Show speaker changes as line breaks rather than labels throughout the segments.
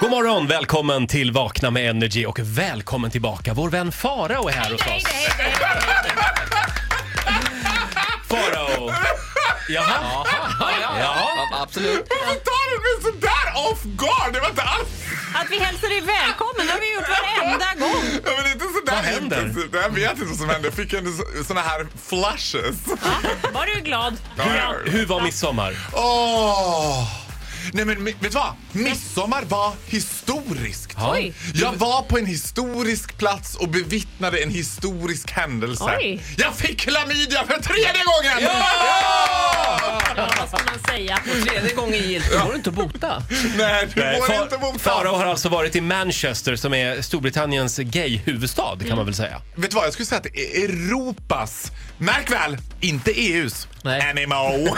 God morgon, välkommen till Vakna med Energy och välkommen tillbaka. Vår vän Farao är här hos oss. Farao! Jaha,
Ja, absolut.
Varför tar du mig sådär off guard? Det var inte alls...
Att vi hälsar dig välkommen, det har vi gjort varenda gång.
Jag vill inte sådär
Vad händer?
intensivt. Jag vet inte vad som hände. Jag fick en så- såna här flashes.
Var du glad?
Ja.
hur var midsommar?
Åh! Nej men mi- vet du vad? Midsommar var historiskt.
Ja.
Oj.
Jag var på en historisk plats och bevittnade en historisk händelse.
Oj.
Jag fick klamydia för tredje gången!
Ja, vad ska man säga?
Tredje gången gillt, då går det inte att bota.
Nej, du
Nej,
går
Fa-
inte mot
Farao har alltså varit i Manchester som är Storbritanniens gay-huvudstad kan man väl säga.
Vet du vad, jag skulle säga att det är Europas, märk väl, inte E EUs,
Nej.
NMO,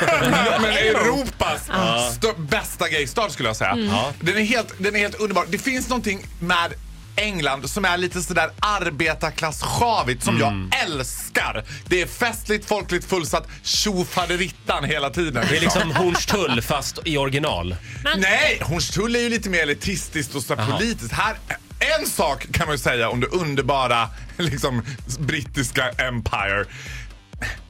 men Europas stö- bästa gaystad skulle jag säga.
Mm.
Den, är helt, den är helt underbar. Det finns någonting med England som är lite sådär arbetarklassschavigt som
Mm.
jag älskar. Det är festligt, folkligt, fullsatt, tjofaderittan hela tiden.
Det är liksom Hornstull fast i original.
Nej, Hornstull är ju lite mer elitistiskt och så här
Jaha.
politiskt. Här, en sak kan man ju säga om det underbara liksom, brittiska Empire.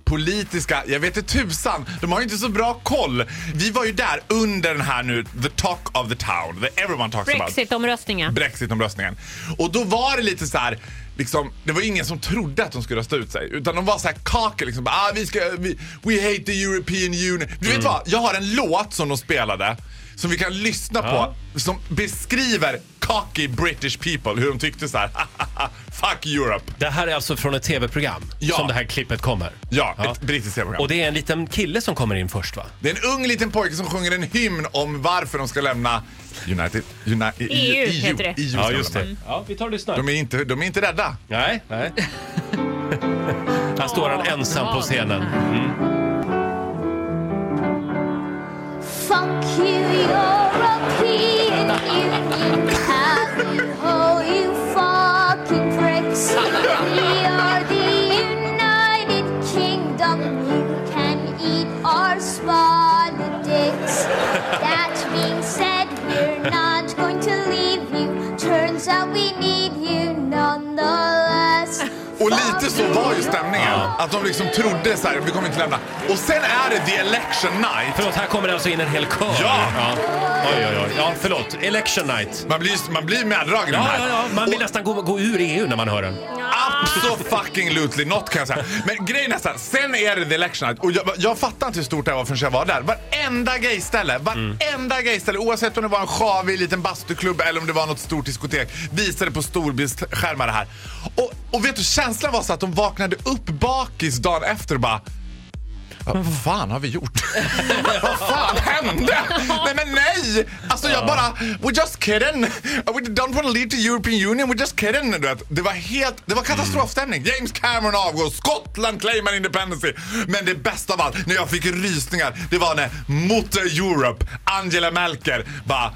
Politiska, jag vet inte tusan, de har ju inte så bra koll. Vi var ju där under den här nu, the talk of the town, the everyone talks about.
Brexit-omröstningen.
Brexitomröstningen. Och då var det lite så här, liksom, det var ingen som trodde att de skulle rösta ut sig. Utan de var så här kakel, liksom, ah, vi ska, vi, we hate the European Union. Du
Mm.
vet vad, jag har en låt som de spelade som vi kan lyssna på som beskriver cocky British people, hur de tyckte så här, fuck Europe.
Det här är alltså från ett tv-program
Ja.
som det här klippet kommer.
Ja, ett brittiskt tv-program.
Och det är en liten kille som kommer in först va?
Det är en ung liten pojke som sjunger en hymn om varför de ska lämna United, E United,
EU E heter det.
EU ska de lämna.
Ja, vi tar och lyssnar.
De är inte, de är inte rädda.
Nej, nej. Här står han ensam på scenen.
Fuck you, European Union. How you hoe, you fucking pricks. We are the United Kingdom. You can eat our politics. That being said, we're not going to leave you. Turns out we need you nonetheless.
Och lite så var ju stämningen. Att de liksom trodde så här, vi kommer inte lämna. Och sen är det the election night.
Förlåt, här kommer det alltså in en hel kör.
Ja.
Oj, oj, oj. Ja, förlåt. Election night.
Man blir, man blir meddragen i den
Ja,
här.
ja, ja. Man vill nästan gå, gå ur EU när man hör den.
Absolutely not kan jag säga. Men grejen är så här, sen är det the election night och jag, jag fattar inte hur stort det här var förrän jag var där. Varenda gayställe, varenda
Mm.
gayställe, oavsett om det var en sjavig liten bastuklubb eller om det var något stort diskotek, visade på storbildsskärmar det här. Och, och vet du, känslan var så att de vaknade upp bakis dagen efter och bara vad fan har vi gjort? vad fan hände? Nej men nej! Alltså jag bara, we're just kidding. We don't want to lead to European Union, we're just kidding. Du vet. Det var helt, det var katastrofstämning. James Cameron avgår, Skottland claimar independency. Men det bästa av allt, när jag fick rysningar, det var när Mutter Europe, Angela Merkel, bara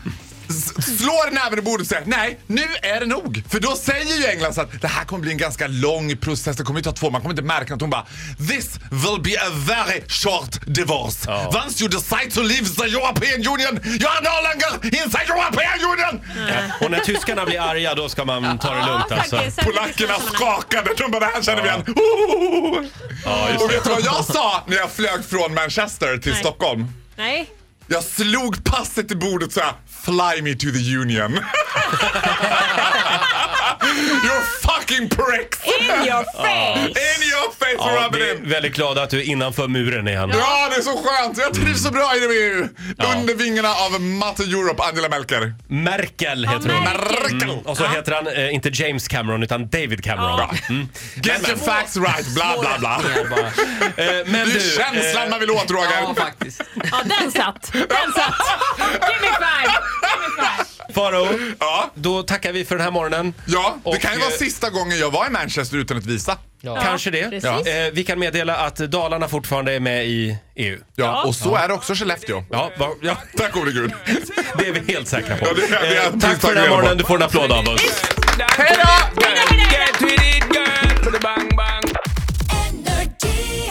s- slår näven i bordet och säger nej, nu är det nog. För då säger ju England så att det här kommer bli en ganska lång process. Det kommer ju ta två, man kommer inte märka något. Hon bara this will be a very short divorce.
Ja.
Once you decide to leave the European Union, you are no longer inside European Union!
Och när tyskarna blir arga, då ska man ta det lugnt alltså.
faktiskt.
Polackerna skakade. De bara det här känner vi igen.
Ja, just
Och
det.
vet du vad jag sa när jag flög från Manchester till
Nej.
Stockholm?
Nej.
Jag slog passet i bordet och sa Fly me to the Union. you fucking pricks!
In your face!
In your face
Ja,
Robin!
vi är väldigt glada att du är innanför muren igen.
Ja, det är så skönt! Jag trivs så bra i det EU! Under vingarna av Matte Europe, Angela Merkel.
Merkel heter hon.
Merkel!
Mm. Och så heter han eh, inte James Cameron utan David Cameron. Mm.
Bra. Get your facts right, bla bla bla.
Eh,
Det
Men
är
du, eh,
känslan man vill åt, Roger.
Ja, faktiskt.
Ja, den satt. Den satt. Give me five. Give me five.
Faro,
Ja.
då tackar vi för den här morgonen.
Ja, det
Och,
kan ju vara
eh,
sista gången jag var i Manchester utan ett visa.
Ja.
Kanske det.
precis.
Eh, Vi kan meddela att Dalarna fortfarande är med i E EU.
Ja, och så är det också Skellefteå.
Ja, va, ja,
Tack gode gud.
det är vi helt säkra på.
Ja, det är- det är
Eh,
precis
Tack för den
vad
här
jag
morgonen.
menar.
Du får en applåd av oss.
Hej då! Get with it girl! För det Bang, bang.
Energy.